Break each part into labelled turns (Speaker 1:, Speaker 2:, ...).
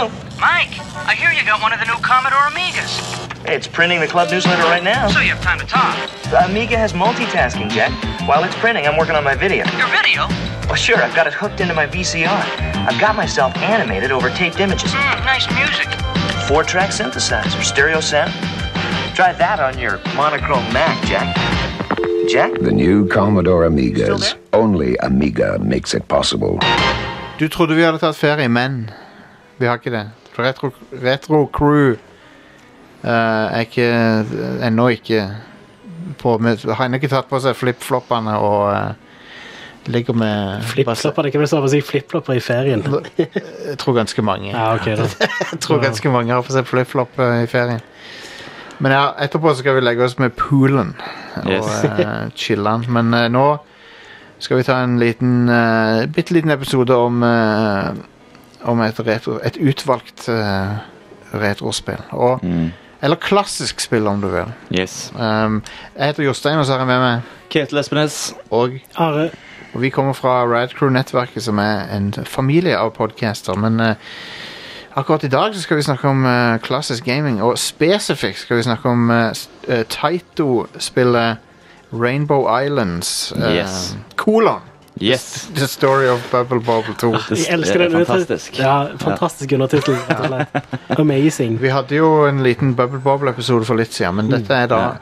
Speaker 1: Mike, I hear you got one of the new Commodore Amigas.
Speaker 2: Hey, it's printing the club newsletter right now.
Speaker 1: So you have time to talk.
Speaker 2: The Amiga has multitasking, Jack. While it's printing, I'm working on my video.
Speaker 1: Your video?
Speaker 2: Well, sure, I've got it hooked into my VCR. I've got myself animated over taped images.
Speaker 1: Hmm, nice music.
Speaker 2: Four track synthesizer, stereo sound. Try that on your monochrome Mac, Jack. Jack?
Speaker 3: The new Commodore Amigas.
Speaker 2: Still
Speaker 3: Only Amiga makes it possible.
Speaker 4: Du trodde vi hadde tatt ferie, men vi har ikke det. Retro, retro Crew eh, er ikke ennå ikke på med, Har ennå ikke tatt på seg flipfloppene og eh, ligger med
Speaker 5: Flippflopper, det er ikke vel det samme å si flippflopper i ferien.
Speaker 4: Jeg tror ganske mange.
Speaker 5: Ja, ok da.
Speaker 4: Jeg tror ganske mange har på seg flipflop eh, i ferien. Men ja, etterpå så skal vi legge oss med poolen og
Speaker 6: Yes.
Speaker 4: eh, chille'n. Men eh, nå skal vi ta en liten, eh, bitte liten episode om, eh, om et, retro, et utvalgt eh, retrospill. Og, Eller klassisk spill, om du vil.
Speaker 6: Yes.
Speaker 4: Um, jeg heter Jostein, og så har jeg med meg
Speaker 6: Ketil Espenes.
Speaker 4: og
Speaker 5: Are,
Speaker 4: og vi kommer fra Radcrew-nettverket, som er en familie av podcaster. Men eh, akkurat i dag så skal vi snakke om eh, klassisk gaming, og spesifikt skal vi snakke om eh, s- eh, Taito-spillet Rainbow Islands. eh,
Speaker 6: Yes.
Speaker 4: Kolon!
Speaker 6: Yes.
Speaker 4: The Story of Bubble Bobble 2.
Speaker 5: jeg elsker den.
Speaker 6: er fantastisk.
Speaker 5: Ja, fantastisk undertittel. rett og slett. Amazing.
Speaker 4: Vi hadde jo en liten Bubble Bobble-episode for litt siden, men dette er da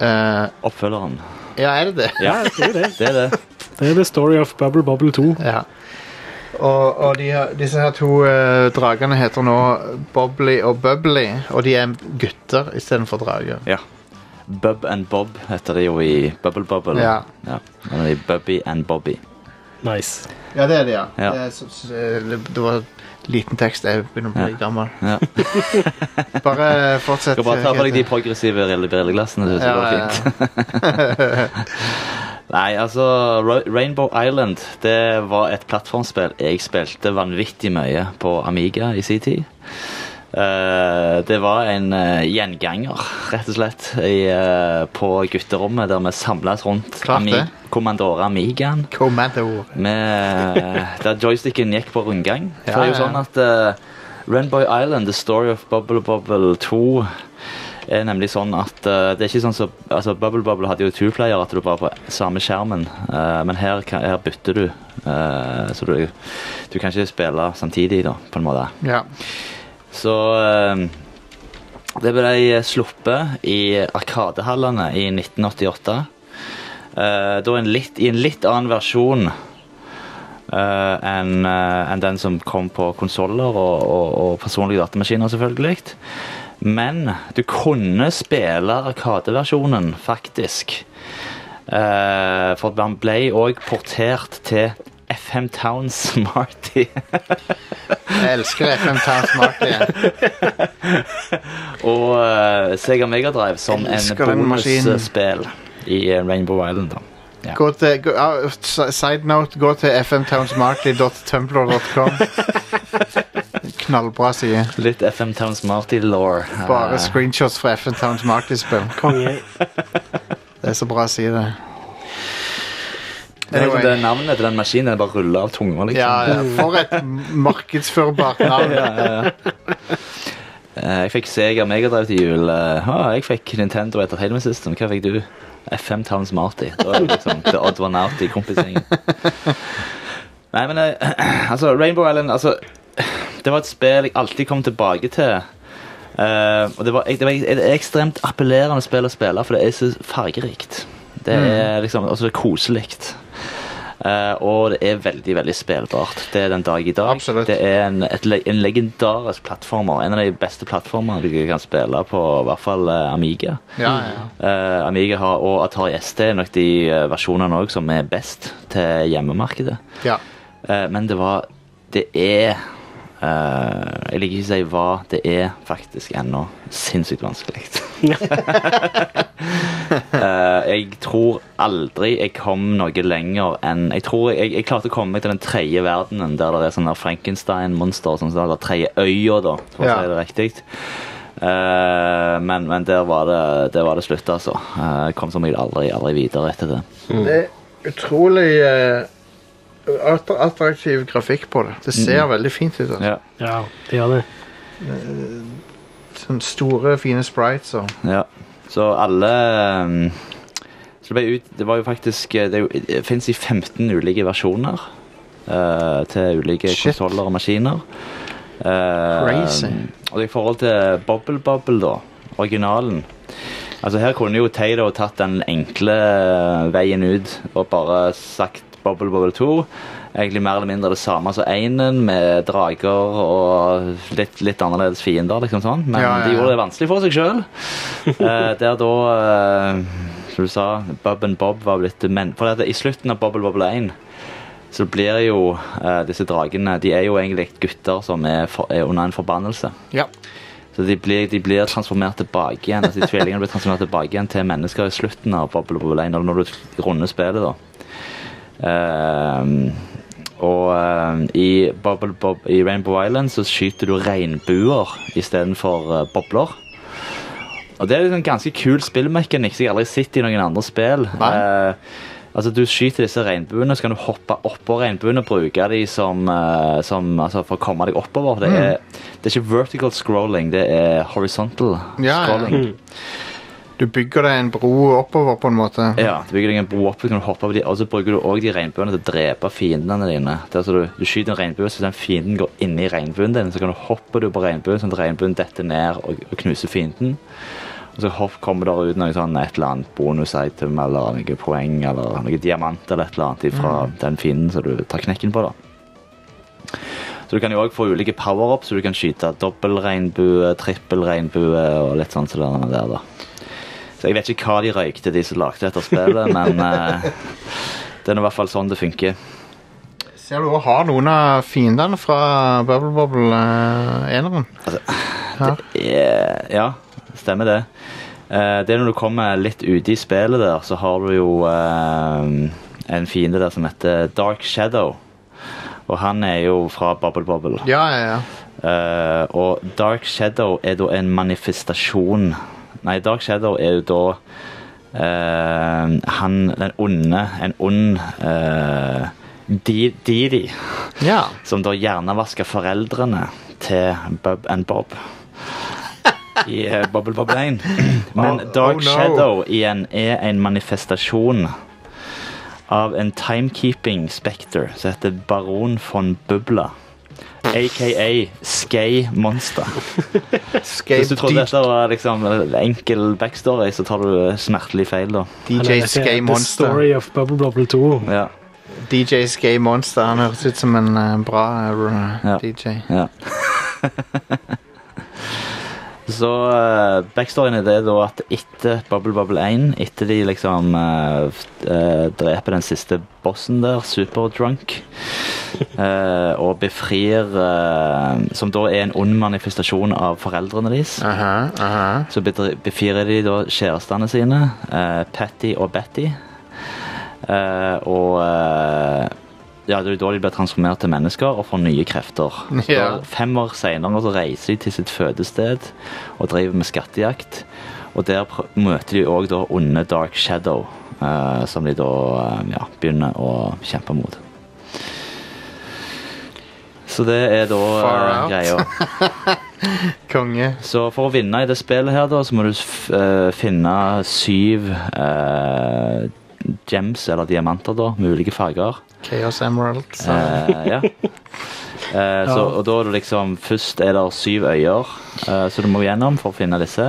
Speaker 4: eh,
Speaker 6: Oppfølgeren.
Speaker 4: Ja, er det det?
Speaker 6: Ja,
Speaker 5: Det er jo det.
Speaker 6: det er det.
Speaker 5: Det er The Story of Bubble Bobble 2.
Speaker 4: Ja. Og, og de, her- disse her to eh, dragene heter nå Bobbly og Bubbly, og de er gutter istedenfor drager.
Speaker 6: Ja. Bub and Bob heter det jo i Bubble Bubble.
Speaker 4: Ja.
Speaker 6: ja. Men det er Bubby and Bobby.
Speaker 5: Nice.
Speaker 4: Ja, det er det, ja.
Speaker 6: Ja.
Speaker 4: Det, er, så- så- det, det var liten tekst. Jeg begynner å bli gammel.
Speaker 6: Ja.
Speaker 4: Bare fortsett.
Speaker 6: Skal bare ta på deg de
Speaker 4: Ketil.
Speaker 6: progressive brille- brilleglassene. så
Speaker 4: Ja,
Speaker 6: går det
Speaker 4: ja,
Speaker 6: fint. Nei, altså Ra- Rainbow Island Det var et plattformspill jeg spilte vanvittig mye på Amiga i sin tid. Eh, det var en eh, gjenganger, rett og slett, i, eh, på gutterommet der vi samles rundt
Speaker 4: Klart det.
Speaker 6: Commandore Amigaen.
Speaker 4: Commando.
Speaker 6: Med, der joysticken gikk på rundgang.
Speaker 4: Ja,
Speaker 6: For det er jo
Speaker 4: ja.
Speaker 6: sånn at eh, Rainbow Island, The Story of Bubble Bubble 2 er nemlig sånn at eh, det er ikke sånn som altså Bubble Bubble hadde jo two-player, at du bare på samme skjermen. eh, men her, kan, her bytter du, eh, så du, du kan ikke spille samtidig, da, på en måte.
Speaker 4: Ja.
Speaker 6: Så eh, det ble sluppet i Arkadehallene i 1988. Eh, da en litt, i en litt annen versjon eh, enn eh, enn den som kom på konsoller og, og, og personlige datamaskiner, selvfølgelig. Men du kunne spille Arkadeversjonen, faktisk. Eh, for man ble òg portert til FM Town Smarty.
Speaker 4: Jeg elsker FM Town Smart igjen.
Speaker 6: Og uh, Sega Mega Drive som en
Speaker 4: Elsker den maskinen.
Speaker 6: bonusspill i eh, Rainbow Island. da. Ja.
Speaker 4: Gå til, gå, ja, s- side note, gå til fmtownsmarty.tumblr.com. Knallbra side.
Speaker 6: Litt FM Towns Eh, Marty-law.
Speaker 4: Bare screenshots fra FN Towns Marty-spill.
Speaker 5: Konge.
Speaker 4: Det er så bra å si det.
Speaker 6: det, er liksom
Speaker 4: Anyway.
Speaker 6: det navnet til den maskinen det bare ruller av tunga, liksom.
Speaker 4: Ja, ja. For et markedsførbart navn.
Speaker 6: Eh, jeg fikk Sega Mega Drive til jul. eh, ah, jeg fikk Nintendo Entertainment System. Hva fikk du? FM Towns Marty. Da er det liksom The Odd One Out i kompisgjengen. Nei, men eh, altså, Rainbow Island altså, Det var et spill jeg alltid kom tilbake til. Eh, og det var, det var et ekstremt appellerende spill å spille, for det er så fargerikt. Det er liksom også koselig. Eh, og det er veldig veldig spillbart. Det er den dag i dag.
Speaker 4: Absolutt.
Speaker 6: Det er en, et, le- en legendarisk plattformer. En av de beste plattformene du kan spille på i hvert fall eh, Amiga.
Speaker 4: Ja, ja.
Speaker 6: Eh, Amiga har, og Atari ST er nok de eh, versjonene også som er best til hjemmemarkedet.
Speaker 4: ja.
Speaker 6: Eh, men det var Det er eh, Jeg liker ikke å si hva. Det er faktisk ennå sinnssykt vanskelig. Eh, jeg tror aldri jeg kom noe lenger enn Jeg tror jeg, jeg klarte å komme meg til den tredje verdenen der det er sånne Frankenstein-monster. og sånn, sånn, Eller tredje øya, da, for å
Speaker 4: Ja.
Speaker 6: si det riktig. Eh, men, men der var det, der var det slutt, altså. Eh, jeg kom som regel aldri, aldri videre etter det.
Speaker 4: Det er utrolig eh, attra- attraktiv grafikk på det. Det ser veldig fint ut. Altså.
Speaker 6: Mm. Ja.
Speaker 5: Ja, det gjør det.
Speaker 4: Sånne store, fine sprites og
Speaker 6: Ja. Så alle ehm, så det, ble ut, det var jo faktisk eh, Det, er jo- det fins i 15 ulike versjoner eh, til ulike
Speaker 4: Shit.
Speaker 6: konsoller og maskiner. Eh,
Speaker 4: Crazy.
Speaker 6: Og i forhold til Bubble Bubble, da, originalen Altså Her kunne jo Tato tatt den enkle eh, veien ut og bare sagt Bubble Bubble 2. Egentlig mer eller mindre det samme som Einen, med drager og litt, litt annerledes fiender. liksom sånn Men
Speaker 4: Ja, ja,
Speaker 6: de
Speaker 4: ja.
Speaker 6: gjorde det vanskelig for seg sjøl. Eh, der da eh, Som du sa, Bob and Bob var blitt menn. For det at i slutten av Bobble Bobble 1 så blir jo eh, disse dragene De er jo egentlig gutter som er, for, er under en forbannelse.
Speaker 4: Ja.
Speaker 6: Så de blir, de blir transformert tilbake igjen. Altså, de tvillingene blir transformert tilbake igjen til mennesker i slutten av Bobble Bobble 1, når du runder spillet, da. Ehm, og ehm, i, Bubble Bob, i Rainbow Island så skyter du regnbuer istedenfor uh, bobler. Og det er liksom en ganske kul spillmekanikk som jeg aldri har sett i noen andre spill.
Speaker 4: Nei.
Speaker 6: Eh, altså Du skyter disse regnbuene, så kan du hoppe oppå regnbuene og bruke dem som, eh, som, altså, for å komme deg
Speaker 4: Mm.
Speaker 6: oppover. Det er, det er ikke vertical scrolling, det er horizontal
Speaker 4: Ja, ja.
Speaker 6: scrolling.
Speaker 4: Mm. Du bygger deg en bro oppover, på en måte.
Speaker 6: Ja, du bygger deg en bro opp, så kan du hoppe over de, og så bruker du også de regnbuene til å drepe fiendene dine. Det er altså du, du skyter en regnbue, så hvis den fienden går inn i regnbuen din, så kan du hoppe du på regnbuen, sånn at regnbuen detter ned og, og knuser fienden. Og så hopp, kommer der ut noe sånn, et eller annet bonus-item, eller noe poeng, eller noe diamant, eller et eller annet fra den fienden som du tar knekken på, da. Så du kan jo òg få ulike power-ups, så du kan skyte dobbel regnbue, trippel regnbue og litt sånn som det der, da. Så jeg vet ikke hva de røykte, de som lagde dette spillet, men eh, det er nå i hvert fall sånn det funker.
Speaker 4: Ser du òg har noen av fiendene fra Bubble Bobble-eneren.
Speaker 6: Eh, ja, stemmer det. Eh, det er når du kommer litt ute i spillet der, så har du jo eh, en fiende der som heter Dark Shadow. Og han er jo fra Bubble Bubble.
Speaker 4: ja, ja, ja.
Speaker 6: Eh, og Dark Shadow er da en manifestasjon Nei, Dark Shadow er jo da eh, han den onde En ond uh, Didi,
Speaker 4: ja.
Speaker 6: som da hjernevasker foreldrene til Bub and Bob. I eh, Bubble Bob Lane. Men
Speaker 4: oh
Speaker 6: Dark
Speaker 4: no.
Speaker 6: Shadow igjen er en manifestasjon av en timekeeping specter som heter Baron von Bubla. AKA Skay Monster.
Speaker 4: Escape
Speaker 6: Hvis du trodde dette var liksom en enkel backstory, så tar du smertelig feil, da.
Speaker 4: DJ Skay
Speaker 5: The
Speaker 4: Monster.
Speaker 5: Story of Bubble Bubble 2.
Speaker 6: Ja,
Speaker 4: DJ Skay Monster. Han høres ut som en eh, bra eh,
Speaker 6: Ja.
Speaker 4: DJ.
Speaker 6: ja. Så eh, backstoryen er det da at etter Bubble Bubble 1, etter de liksom eh, f- eh, dreper den siste bossen der, Superdrunk, eh, og befrir eh, Som da er en ond manifestasjon av foreldrene deres.
Speaker 4: Aha, aha.
Speaker 6: Så bedri- befirer de da kjærestene sine, eh, Patty og Betty. Eh, og eh, ja, det er jo da de blir transformert til mennesker og får nye krefter. Så
Speaker 4: Ja.
Speaker 6: da Fem år senere så reiser de til sitt fødested og driver med skattejakt. Og der pr møter de òg da onde Dark Shadow, eh, som de da eh, ja, begynner å kjempe mot. Så det er da
Speaker 4: Far
Speaker 6: eh,
Speaker 4: out.
Speaker 6: greia.
Speaker 4: Konge.
Speaker 6: Så for å vinne i det spillet her, da, så må du f eh, finne syv eh, gems, eller diamanter, da, med ulike farger.
Speaker 4: Chaos Emeralds.
Speaker 6: Eh, ja. Eh, så, og da er det liksom Først er det syv øyer eh, som du må gjennom for å finne disse.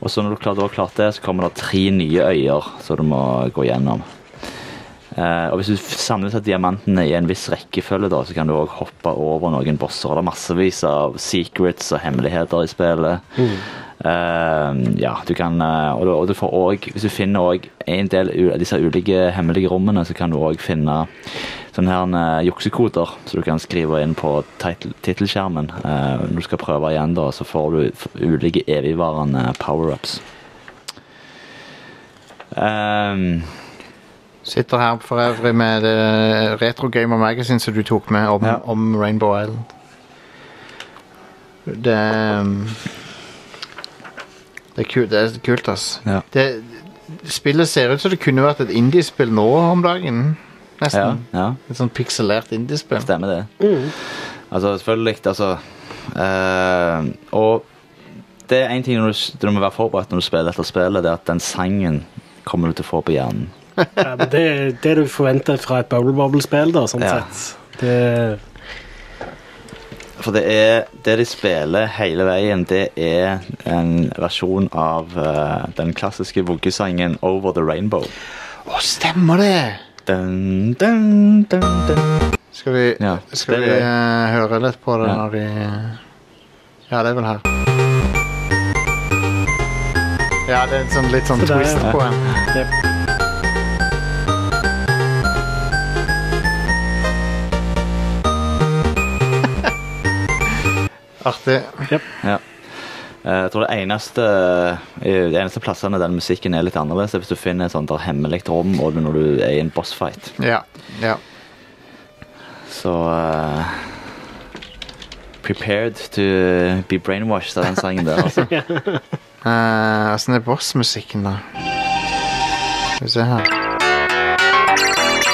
Speaker 6: Og så når du klar, da har klart det, så kommer det tre nye øyer som du må gå gjennom. Eh, og hvis du f- samler seg diamantene i en viss rekkefølge, da, så kan du òg hoppe over noen bosser. Det er massevis av secrets og hemmeligheter i spillet. Eh, ja, du kan eh, Og, du- og du får òg Hvis du finner òg en del u- av disse ulike hemmelige rommene, så kan du òg finne sånne her eh, juksekoder som du kan skrive inn på titel- tittelskjermen eh, når du skal prøve igjen, da, så får du f- ulike evigvarende power-ups. Ehm,
Speaker 4: Sitter her for øvrig med det Retro Gamer Magazine som du tok med om,
Speaker 6: Ja.
Speaker 4: om Rainbow Island. Det er, um, Det er kult, det er kult ass.
Speaker 6: Ja.
Speaker 4: Det, spillet ser ut som det kunne vært et indiespill nå om dagen.
Speaker 6: ja,
Speaker 4: Nesten.
Speaker 6: ja.
Speaker 4: Et sånn pikselert indiespill.
Speaker 6: Stemmer det. Altså, selvfølgelig, altså eh, Eh, og det er en ting når du, s- du må være forberedt når du spiller dette spillet, det er at den sangen kommer du til å få på hjernen.
Speaker 5: Ja, men det er det du forventer fra et Bubble Bubble-spill, da, sånn
Speaker 6: Ja.
Speaker 5: sett. Det,
Speaker 6: For det er det de spiller hele veien, det er en versjon av eh, den klassiske voggesangen Over the Rainbow.
Speaker 4: Å, stemmer det!
Speaker 6: Dun, dun, dun, dun.
Speaker 4: Skal vi,
Speaker 6: Ja,
Speaker 4: skal vi
Speaker 6: det er det.
Speaker 4: eh, høre litt på det
Speaker 6: Ja.
Speaker 4: når vi eh, Ja, det er vel her. Ja, det er en sånn, litt sånn
Speaker 5: Så der,
Speaker 4: twist
Speaker 5: ja.
Speaker 4: på den.
Speaker 5: Jep.
Speaker 4: Artig.
Speaker 6: Ja. Eh, Jeg tror det eneste, eh, de eneste plassene den musikken er litt annerledes, er hvis du finner et sånt der hemmelig rom og det når du er i en bossfight.
Speaker 4: Ja. ja.
Speaker 6: Så eh, Prepared to be brainwashed av den sangen der, altså.
Speaker 4: Eh, Åssen er bossmusikken, da? Skal vi se her.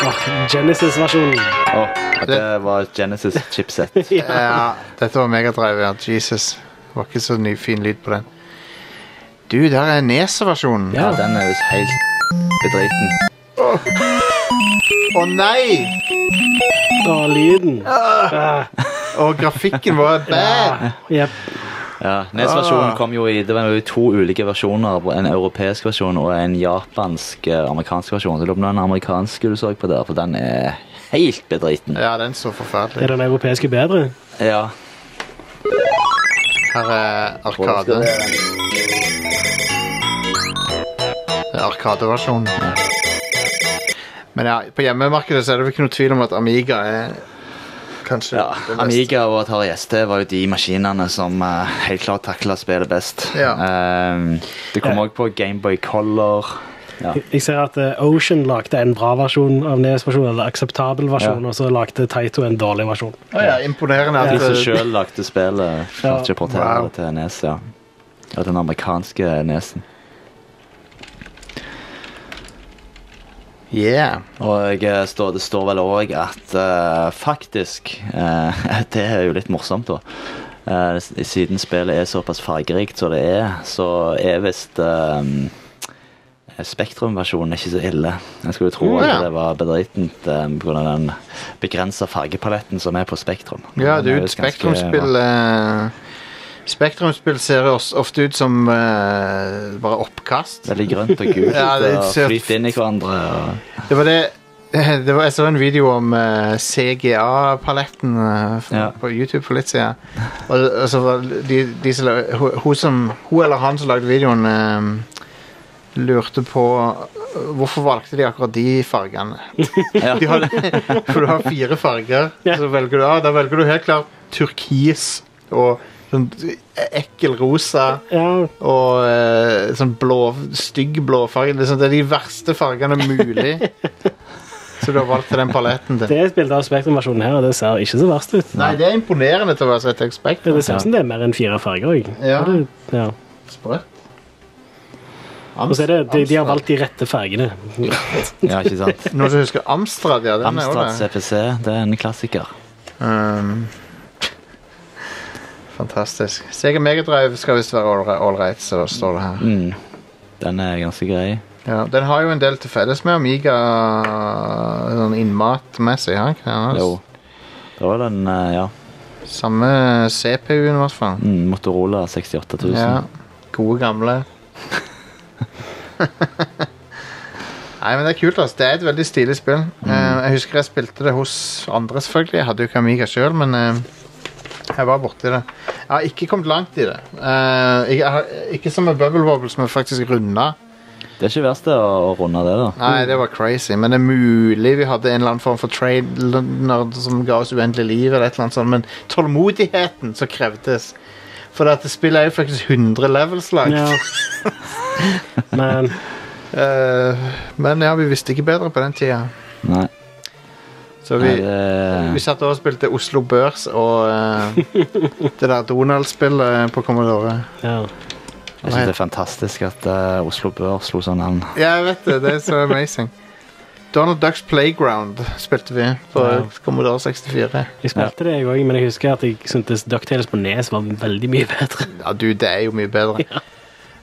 Speaker 5: Åh, ah, Genesis-versjonen.
Speaker 6: Åh, det var et Genesis-chipset.
Speaker 4: Ja, dette var Megadrive, ja. Jesus. Det var ikke så ny, fin lyd på den. Du, der er Nese-versjonen. Å
Speaker 6: Ja, den er visst helt bedriten.
Speaker 4: nei!
Speaker 5: Og lyden.
Speaker 4: Og grafikken var bad!
Speaker 5: Ah, Jep.
Speaker 6: Ja, NES-versjonen
Speaker 4: Ah.
Speaker 6: kom jo i Det var jo i to ulike versjoner. En europeisk versjon og en japansk-amerikansk versjon. Så Det var den amerikanske du så på der, for den er helt bedriten.
Speaker 4: Ja, den så forferdelig.
Speaker 5: Er den europeiske bedre?
Speaker 6: Ja.
Speaker 4: Her er Arkade. Det er Arkade-versjonen. Men ja, på hjemmemarkedet så er det vel ikke noe tvil om at Amiga er kanskje
Speaker 6: ja.
Speaker 4: det beste.
Speaker 6: Amiga og Atari ST var jo de maskinene som eh, helt klart takla spillet best.
Speaker 4: Ja.
Speaker 6: Eh, det kom òg på Gameboy Color. Ja.
Speaker 5: Jeg ser at eh, Ocean lagde en bra versjon av NES-versjonen, eller akseptabel versjon,
Speaker 6: Ja.
Speaker 5: og så lagde Taito en dårlig versjon.
Speaker 4: Å ja, imponerende
Speaker 6: De
Speaker 4: at
Speaker 6: som
Speaker 4: eh,
Speaker 6: sjøl lagde spillet, klarte ikke å portere
Speaker 4: Wow.
Speaker 6: det til NES. Ja. ja, den amerikanske E nesen.
Speaker 4: Yeah.
Speaker 6: Og eh, står, det står vel òg at eh, faktisk eh, Det er jo litt morsomt, da. Eh, s- siden spillet er såpass fargerikt som det er, så er visst eh, Spektrum-versjonen er ikke så ille. Jeg skulle jo tro
Speaker 4: Mm, ja.
Speaker 6: at det var bedritent eh, på grunn av den begrensa fargepaletten som er på Spektrum.
Speaker 4: Ja,
Speaker 6: Den er
Speaker 4: dude,
Speaker 6: visst ganske-
Speaker 4: Spektrum-spill eh, Spektrum-spill ser os- ofte ut som eh, bare oppkast.
Speaker 6: Veldig grønt og gult
Speaker 4: Ja, det
Speaker 6: og
Speaker 4: ser-
Speaker 6: flyter inn i hverandre. Og
Speaker 4: Det var det det var, Jeg så en video om eh, CGA-paletten eh, fra-
Speaker 6: Ja.
Speaker 4: på YouTube for litt siden. Og, og så var de, de som, la- ho- hun, som, hun eller han som lagde videoen, eh, lurte på eh, Hvorfor valgte de akkurat de fargene?
Speaker 6: Ja.
Speaker 4: De har, for du har fire farger,
Speaker 5: Ja.
Speaker 4: så velger du av. Da velger du helt klart turkis og sånn ekkel rosa
Speaker 5: Ja,
Speaker 4: og eh, sånn blå, stygg blåfarge. Det er, sånn, det er de verste fargene mulig. Så du har valgt til den paletten din.
Speaker 5: det er et bilde av Spektrum-versjonen her, og det ser ikke så verst ut.
Speaker 4: Nei, det er imponerende til å være så et ekspekt.
Speaker 5: Ja, Det ser ut som det er mer enn fire farger. jeg.
Speaker 4: Ja.
Speaker 5: Det- ja.
Speaker 4: Sprøtt.
Speaker 5: Og så er det, de, de har valgt de rette fargene.
Speaker 6: Ja, ikke sant?
Speaker 4: Noen som husker Amstrad? Ja, den er jo
Speaker 6: Amstrad
Speaker 4: det.
Speaker 6: CPC, det er en klassiker.
Speaker 4: Um, fantastisk. Sega Megadrive skal visst være ålreit, all right, så står det her.
Speaker 6: Mm. Den er ganske grei.
Speaker 4: Ja, den har jo en del til felles med Amiga sånn innmatmessig. Ja, ikke sant?
Speaker 6: Jo. Det var den, eh, ja.
Speaker 4: Samme CPU-en, i hvert fall.
Speaker 6: Mm, Motorola 68 000.
Speaker 4: Ja. Gode, gamle. Nei, men det er kult. altså. Det er et veldig stilig spill. Eh, jeg husker jeg spilte det hos andre, selvfølgelig. Jeg hadde jo ikke Amiga sjøl, men eh, jeg var borti det. Jeg har ikke kommet langt i det. Eh, jeg har, ikke som med Bubble Wobble, som er faktisk runda.
Speaker 6: Det er ikke verst det å, å runde det, da.
Speaker 4: Nei, det var crazy, men det er mulig vi hadde en eller annen form for trailer som ga oss uendelig liv, eller et eller annet sånt, men tålmodigheten som krevdes. For at det spillet er jo faktisk 100 levels langt.
Speaker 5: Ja. Men
Speaker 4: Eh, men ja, vi visste ikke bedre på den tida.
Speaker 6: Nei,
Speaker 4: Så vi,
Speaker 6: nei
Speaker 4: vi
Speaker 6: det,
Speaker 4: satt og spilte Oslo Børs og eh, det der Donald-spillet på Commodore.
Speaker 5: ja.
Speaker 6: jeg synes det er fantastisk at eh, Oslo Bør slo sånn an.
Speaker 4: Ja, jeg vet det. Det er så amazing. Donald Ducks Playground spilte vi på
Speaker 5: Wow.
Speaker 4: Commodore 64.
Speaker 5: Jeg spilte det, jeg òg, men jeg husker at jeg syntes Ducktales på Nes var veldig mye bedre.
Speaker 4: Ja, du, det er jo mye bedre.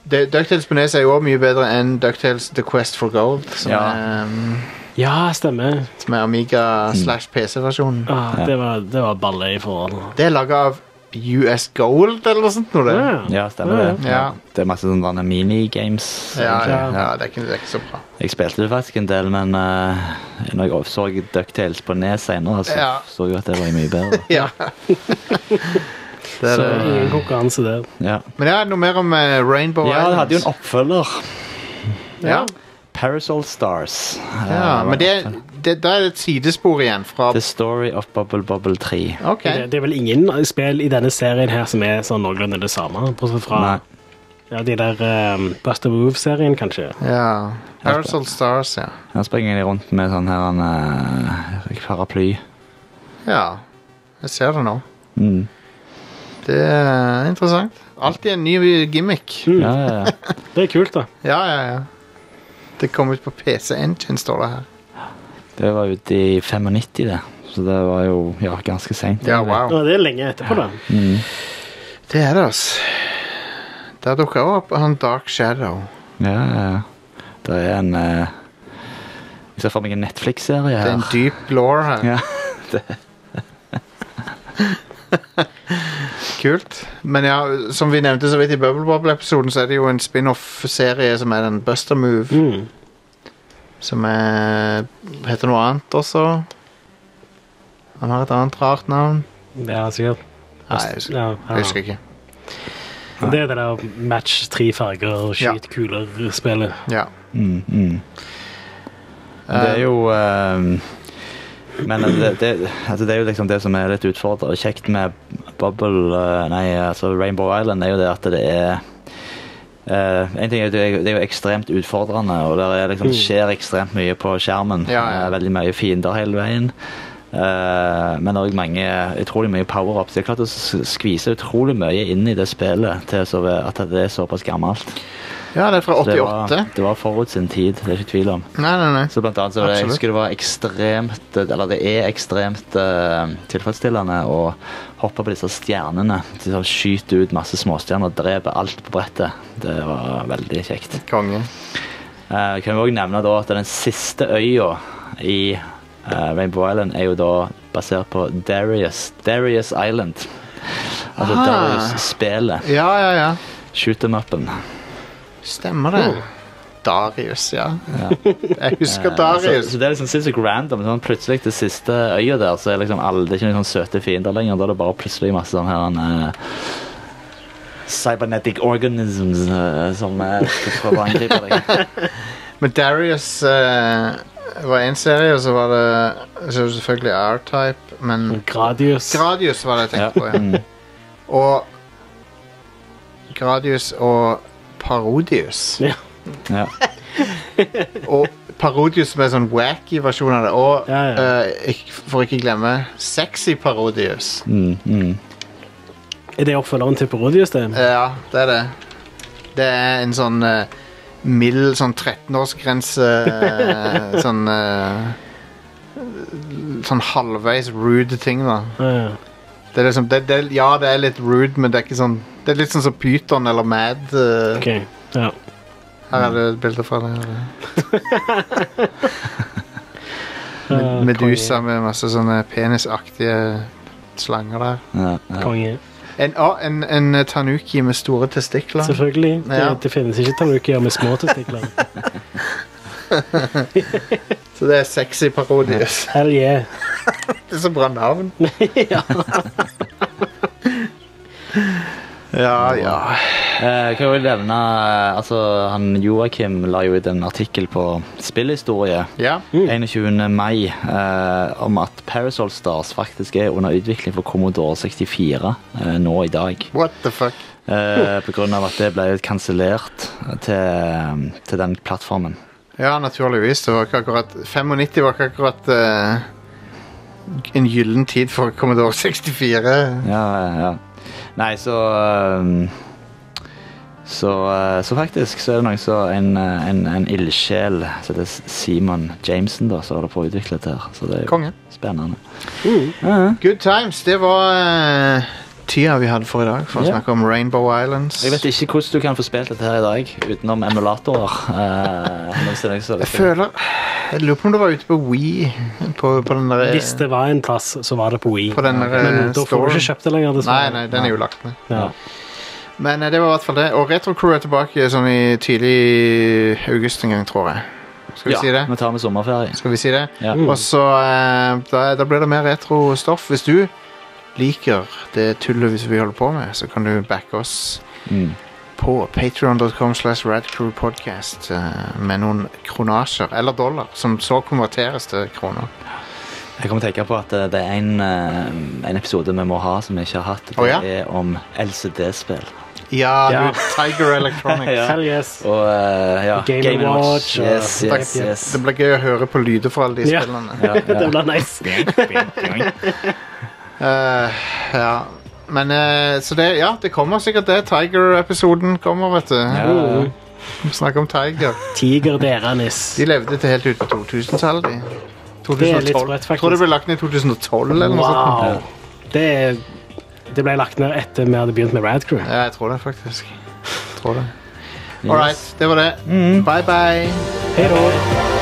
Speaker 4: Det- DuckTales på nes er jo også mye bedre enn DuckTales The Quest for Gold, som
Speaker 6: Ja.
Speaker 4: er, um,
Speaker 5: Ja, stemmer.
Speaker 4: som er
Speaker 6: Mm.
Speaker 4: Amiga slash PC-versjonen.
Speaker 5: Ah, det, var, det var balle i forhold.
Speaker 4: Det er laga av US Gold eller noe sånt. Noe, det.
Speaker 6: Ja, stemmer det.
Speaker 4: Ja.
Speaker 6: Det er masse sånne der minigames.
Speaker 4: Ja, ja,
Speaker 6: egentlig.
Speaker 4: ja, det er ikke, det er ikke så bra.
Speaker 6: Jeg spilte det faktisk en del, men eh, når jeg så Ducktales på Nes senere, så
Speaker 4: Ja.
Speaker 6: så jeg at det var mye bedre.
Speaker 4: Ja. det er
Speaker 5: Så
Speaker 4: det.
Speaker 5: ingen konkurranse der.
Speaker 6: Ja,
Speaker 4: Men ja, noe mer om eh, Rainbow
Speaker 6: ja det hadde jo
Speaker 4: Islands.
Speaker 6: en oppfølger.
Speaker 4: ja.
Speaker 6: Parasol Stars. Eh,
Speaker 4: Ja, men det, det, da er det et sidespor igjen fra
Speaker 6: The Story of Bubble Bubble 3.
Speaker 4: OK.
Speaker 5: Det, det er vel ingen spill i denne serien her som er sånn noenlunde det samme, bortsett fra
Speaker 6: Nei.
Speaker 5: ja, de der um, Buster Move-serien, kanskje.
Speaker 4: Ja. Parasol Stars, ja.
Speaker 6: Her springer de rundt med sånn her en eh, paraply.
Speaker 4: Ja. Jeg ser det nå.
Speaker 6: Mm.
Speaker 4: Det er interessant. Alltid en ny gimmick.
Speaker 6: Ja, ja, ja.
Speaker 5: Det er kult, da.
Speaker 4: Ja, ja, ja. Det kom ut på PC Engine, står det her.
Speaker 6: Det var ute i 95, det. Så det var jo ja, ganske seint.
Speaker 4: Ja, wow.
Speaker 5: Ja, det er lenge etterpå, da.
Speaker 4: Det er det, altså. Der dukka også opp han Dark Shadow.
Speaker 6: Ja, ja, ja. Det er en eh, Jeg ser for meg en Netflix-serie
Speaker 4: Det er en
Speaker 6: her.
Speaker 4: dyp law her.
Speaker 6: Ja.
Speaker 4: Kult. Men ja, som vi nevnte så vidt i Bubble Bobble-episoden, så er det jo en spin-off-serie som er den Buster Move.
Speaker 5: Mm.
Speaker 4: Som er heter noe annet også. Han har et annet rart navn.
Speaker 5: Ja, sikkert.
Speaker 4: Nei, jeg husker,
Speaker 5: Ja, ja.
Speaker 4: jeg husker ikke.
Speaker 5: Men Det er det der match tre farger, skyt
Speaker 4: Ja.
Speaker 5: kuler-spillet.
Speaker 4: Ja.
Speaker 6: Mm, mm. Det er jo eh, Men eh, det, det, altså det er jo liksom det som er litt utfordrende kjekt med Bubble eh, Nei, altså Rainbow Island er jo det at det er eh, en ting er, jo- det, er, jo- det er jo ekstremt utfordrende, og det er liksom, skjer ekstremt mye på skjermen.
Speaker 4: Ja, ja.
Speaker 6: Eh, Veldig mye fiender hele veien. Eh, men òg mange utrolig mye power-ups. Det er klart å s- skvise utrolig mye inn i det spillet til så, at det er såpass gammelt.
Speaker 4: ja, det er fra
Speaker 6: Det var,
Speaker 4: 88.
Speaker 6: det var forut sin tid, det er ikke tvil om.
Speaker 4: Nei, nei, nei.
Speaker 6: Så blant annet så var det, jeg
Speaker 4: Absolutt.
Speaker 6: husker det var ekstremt Eller det er ekstremt eh, tilfredsstillende å hoppe på disse stjernene. De sånn skyter ut masse småstjerner og dreper alt på brettet. Det var veldig kjekt.
Speaker 4: Konge.
Speaker 6: Eh, kan vi også nevne da at den siste øya i eh, Rainbow Island er jo da basert på Darius, Darius Island. Altså
Speaker 4: Ah.
Speaker 6: Darius-spelet.
Speaker 4: Ja, ja, ja.
Speaker 6: Shoot them up-en.
Speaker 4: Stemmer det. Darius, ja. Jeg husker
Speaker 6: Så,
Speaker 4: Darius.
Speaker 6: så det er liksom sinnssykt random. Sånn, plutselig til siste øya der, så er liksom alle, det er ikke noen sånn søte fiender lenger. Da er det bare plutselig masse sånn her en, eh, Cybernetic organisms eh, som eh, prøver å angripe deg.
Speaker 4: Men Darius eh, var en serie, og så var det så selvfølgelig R-Type, men
Speaker 5: Mm. Gradius.
Speaker 4: Gradius var det jeg tenkte på, ja.
Speaker 6: Mm.
Speaker 4: Og Gradius og Parodius.
Speaker 5: Ja.
Speaker 6: Ja.
Speaker 4: Og Parodius som er sånn wacky versjon av det. Og
Speaker 5: Ja, ja.
Speaker 4: eh, ikk- for ikke glemme Sexy Parodius.
Speaker 6: Mm, mm.
Speaker 5: Er det oppfølgeren til Parodius, det?
Speaker 4: Ja, det er det. Det er en sånn eh, mild sånn 13-årsgrense eh, Sånn eh, Sånn halvveis rude ting, da.
Speaker 5: Ja.
Speaker 4: Det er liksom, det, det, ja, det er litt rude, men det er ikke sånn Det er litt sånn som Pyton eller Mad. eh,
Speaker 5: Ok, ja.
Speaker 4: Her er det et bilde fra det. her.
Speaker 5: Eh,
Speaker 4: Medusa med masse sånne penisaktige slanger der.
Speaker 6: Ja,
Speaker 5: konge.
Speaker 6: ja.
Speaker 5: Konge.
Speaker 4: En, å, en, en tanuki med store testikler.
Speaker 5: Selvfølgelig. Det,
Speaker 4: Ja.
Speaker 5: det finnes ikke tanukier med små testikler.
Speaker 4: Så det er sexy parodius.
Speaker 5: Hell yeah.
Speaker 4: Det er så bra navn. ja, ja.
Speaker 6: Eh, kan jo nevne eh, altså, han Joakim la jo ut en artikkel på spillhistorie.
Speaker 4: Ja,
Speaker 6: 21. mai eh, om at Parasol Stars faktisk er under utvikling for Commodore 64 eh, nå i dag.
Speaker 4: what the fuck.
Speaker 6: Eh, på grunn av at det ble kansellert til, til den plattformen.
Speaker 4: Ja, naturligvis. Det var ikke akkurat 95 var ikke akkurat eh, en gyllen tid for Commodore 64.
Speaker 6: Ja, ja. Nei, så eh, Så, eh, så faktisk så er det noen som en, eh, en, en ildsjel som heter Simon Jameson, da, som holder på å utvikle dette. her. Så det er jo
Speaker 4: Konge. Mm.
Speaker 6: spennende.
Speaker 4: Good times. Det var eh, tida vi hadde for i dag, for å
Speaker 6: Ja.
Speaker 4: snakke om Rainbow Islands.
Speaker 6: Jeg vet ikke hvordan du kan få spilt dette her i dag utenom emulatorer. Eh, mens det er noen som-
Speaker 4: Jeg føler Jeg lurer på om det var ute på Wii. På, på den der
Speaker 5: Hvis det var en plass, så var det på Wii.
Speaker 4: På den der, eh,
Speaker 5: Men da får
Speaker 4: storen.
Speaker 5: du ikke kjøpt det lenger,
Speaker 4: Nei,
Speaker 5: dessverre.
Speaker 4: nei, den er jo lagt ned.
Speaker 5: Ja.
Speaker 4: Men eh, det var i hvert fall det. Og Retrocrew er tilbake sånn i tidlig august en gang, tror jeg. Skal vi
Speaker 6: ja,
Speaker 4: si det? Mm.
Speaker 6: Vi tar med sommerferie.
Speaker 4: Skal vi si det?
Speaker 6: Ja.
Speaker 4: Og så eh, da, da blir det mer retrostoff. Hvis du liker det tullet vi holder på med, så kan du backe oss
Speaker 6: Mm.
Speaker 4: på patreon.com slash radcrewpodcast eh, med noen kronasjer, eller dollar, som så konverteres til kroner.
Speaker 6: Jeg kommer til å tenke på at eh, det er en, eh, en episode vi må ha som vi ikke har hatt. Det
Speaker 4: Å, ja?
Speaker 6: er om LCD-spill.
Speaker 4: Ja,
Speaker 5: Ja.
Speaker 4: du, Tiger Electronics.
Speaker 6: Ja.
Speaker 5: Hell yes.
Speaker 6: Og eh, ja,
Speaker 5: Game and Watch, og-
Speaker 6: Yes, yes,
Speaker 4: Takk.
Speaker 6: yes.
Speaker 4: Det blir gøy å høre på lyder fra alle de
Speaker 5: Ja.
Speaker 4: spillene.
Speaker 6: Ja,
Speaker 5: Det
Speaker 6: ja.
Speaker 5: blir nice.
Speaker 4: Eh, ja. Men eh, så det, ja, det kommer sikkert det. Tiger-episoden kommer, vet du. Eh,
Speaker 6: Ja, ja.
Speaker 4: Snakk om Tiger.
Speaker 5: Tiger deranis.
Speaker 4: De levde til helt ut på 2000-tallet, de.
Speaker 5: Det er
Speaker 4: 2012.
Speaker 5: litt sprøtt,
Speaker 4: Jeg tror det
Speaker 5: faktisk.
Speaker 4: ble lagt ned i 2012 eller noe sånt.
Speaker 5: Wow. Det, det ble lagt ned etter vi hadde begynt med Rad Crew.
Speaker 4: Ja, jeg tror det,
Speaker 5: Mm.
Speaker 4: faktisk. Jeg tror det. All right, det var det. Bye, bye.
Speaker 5: Hei da.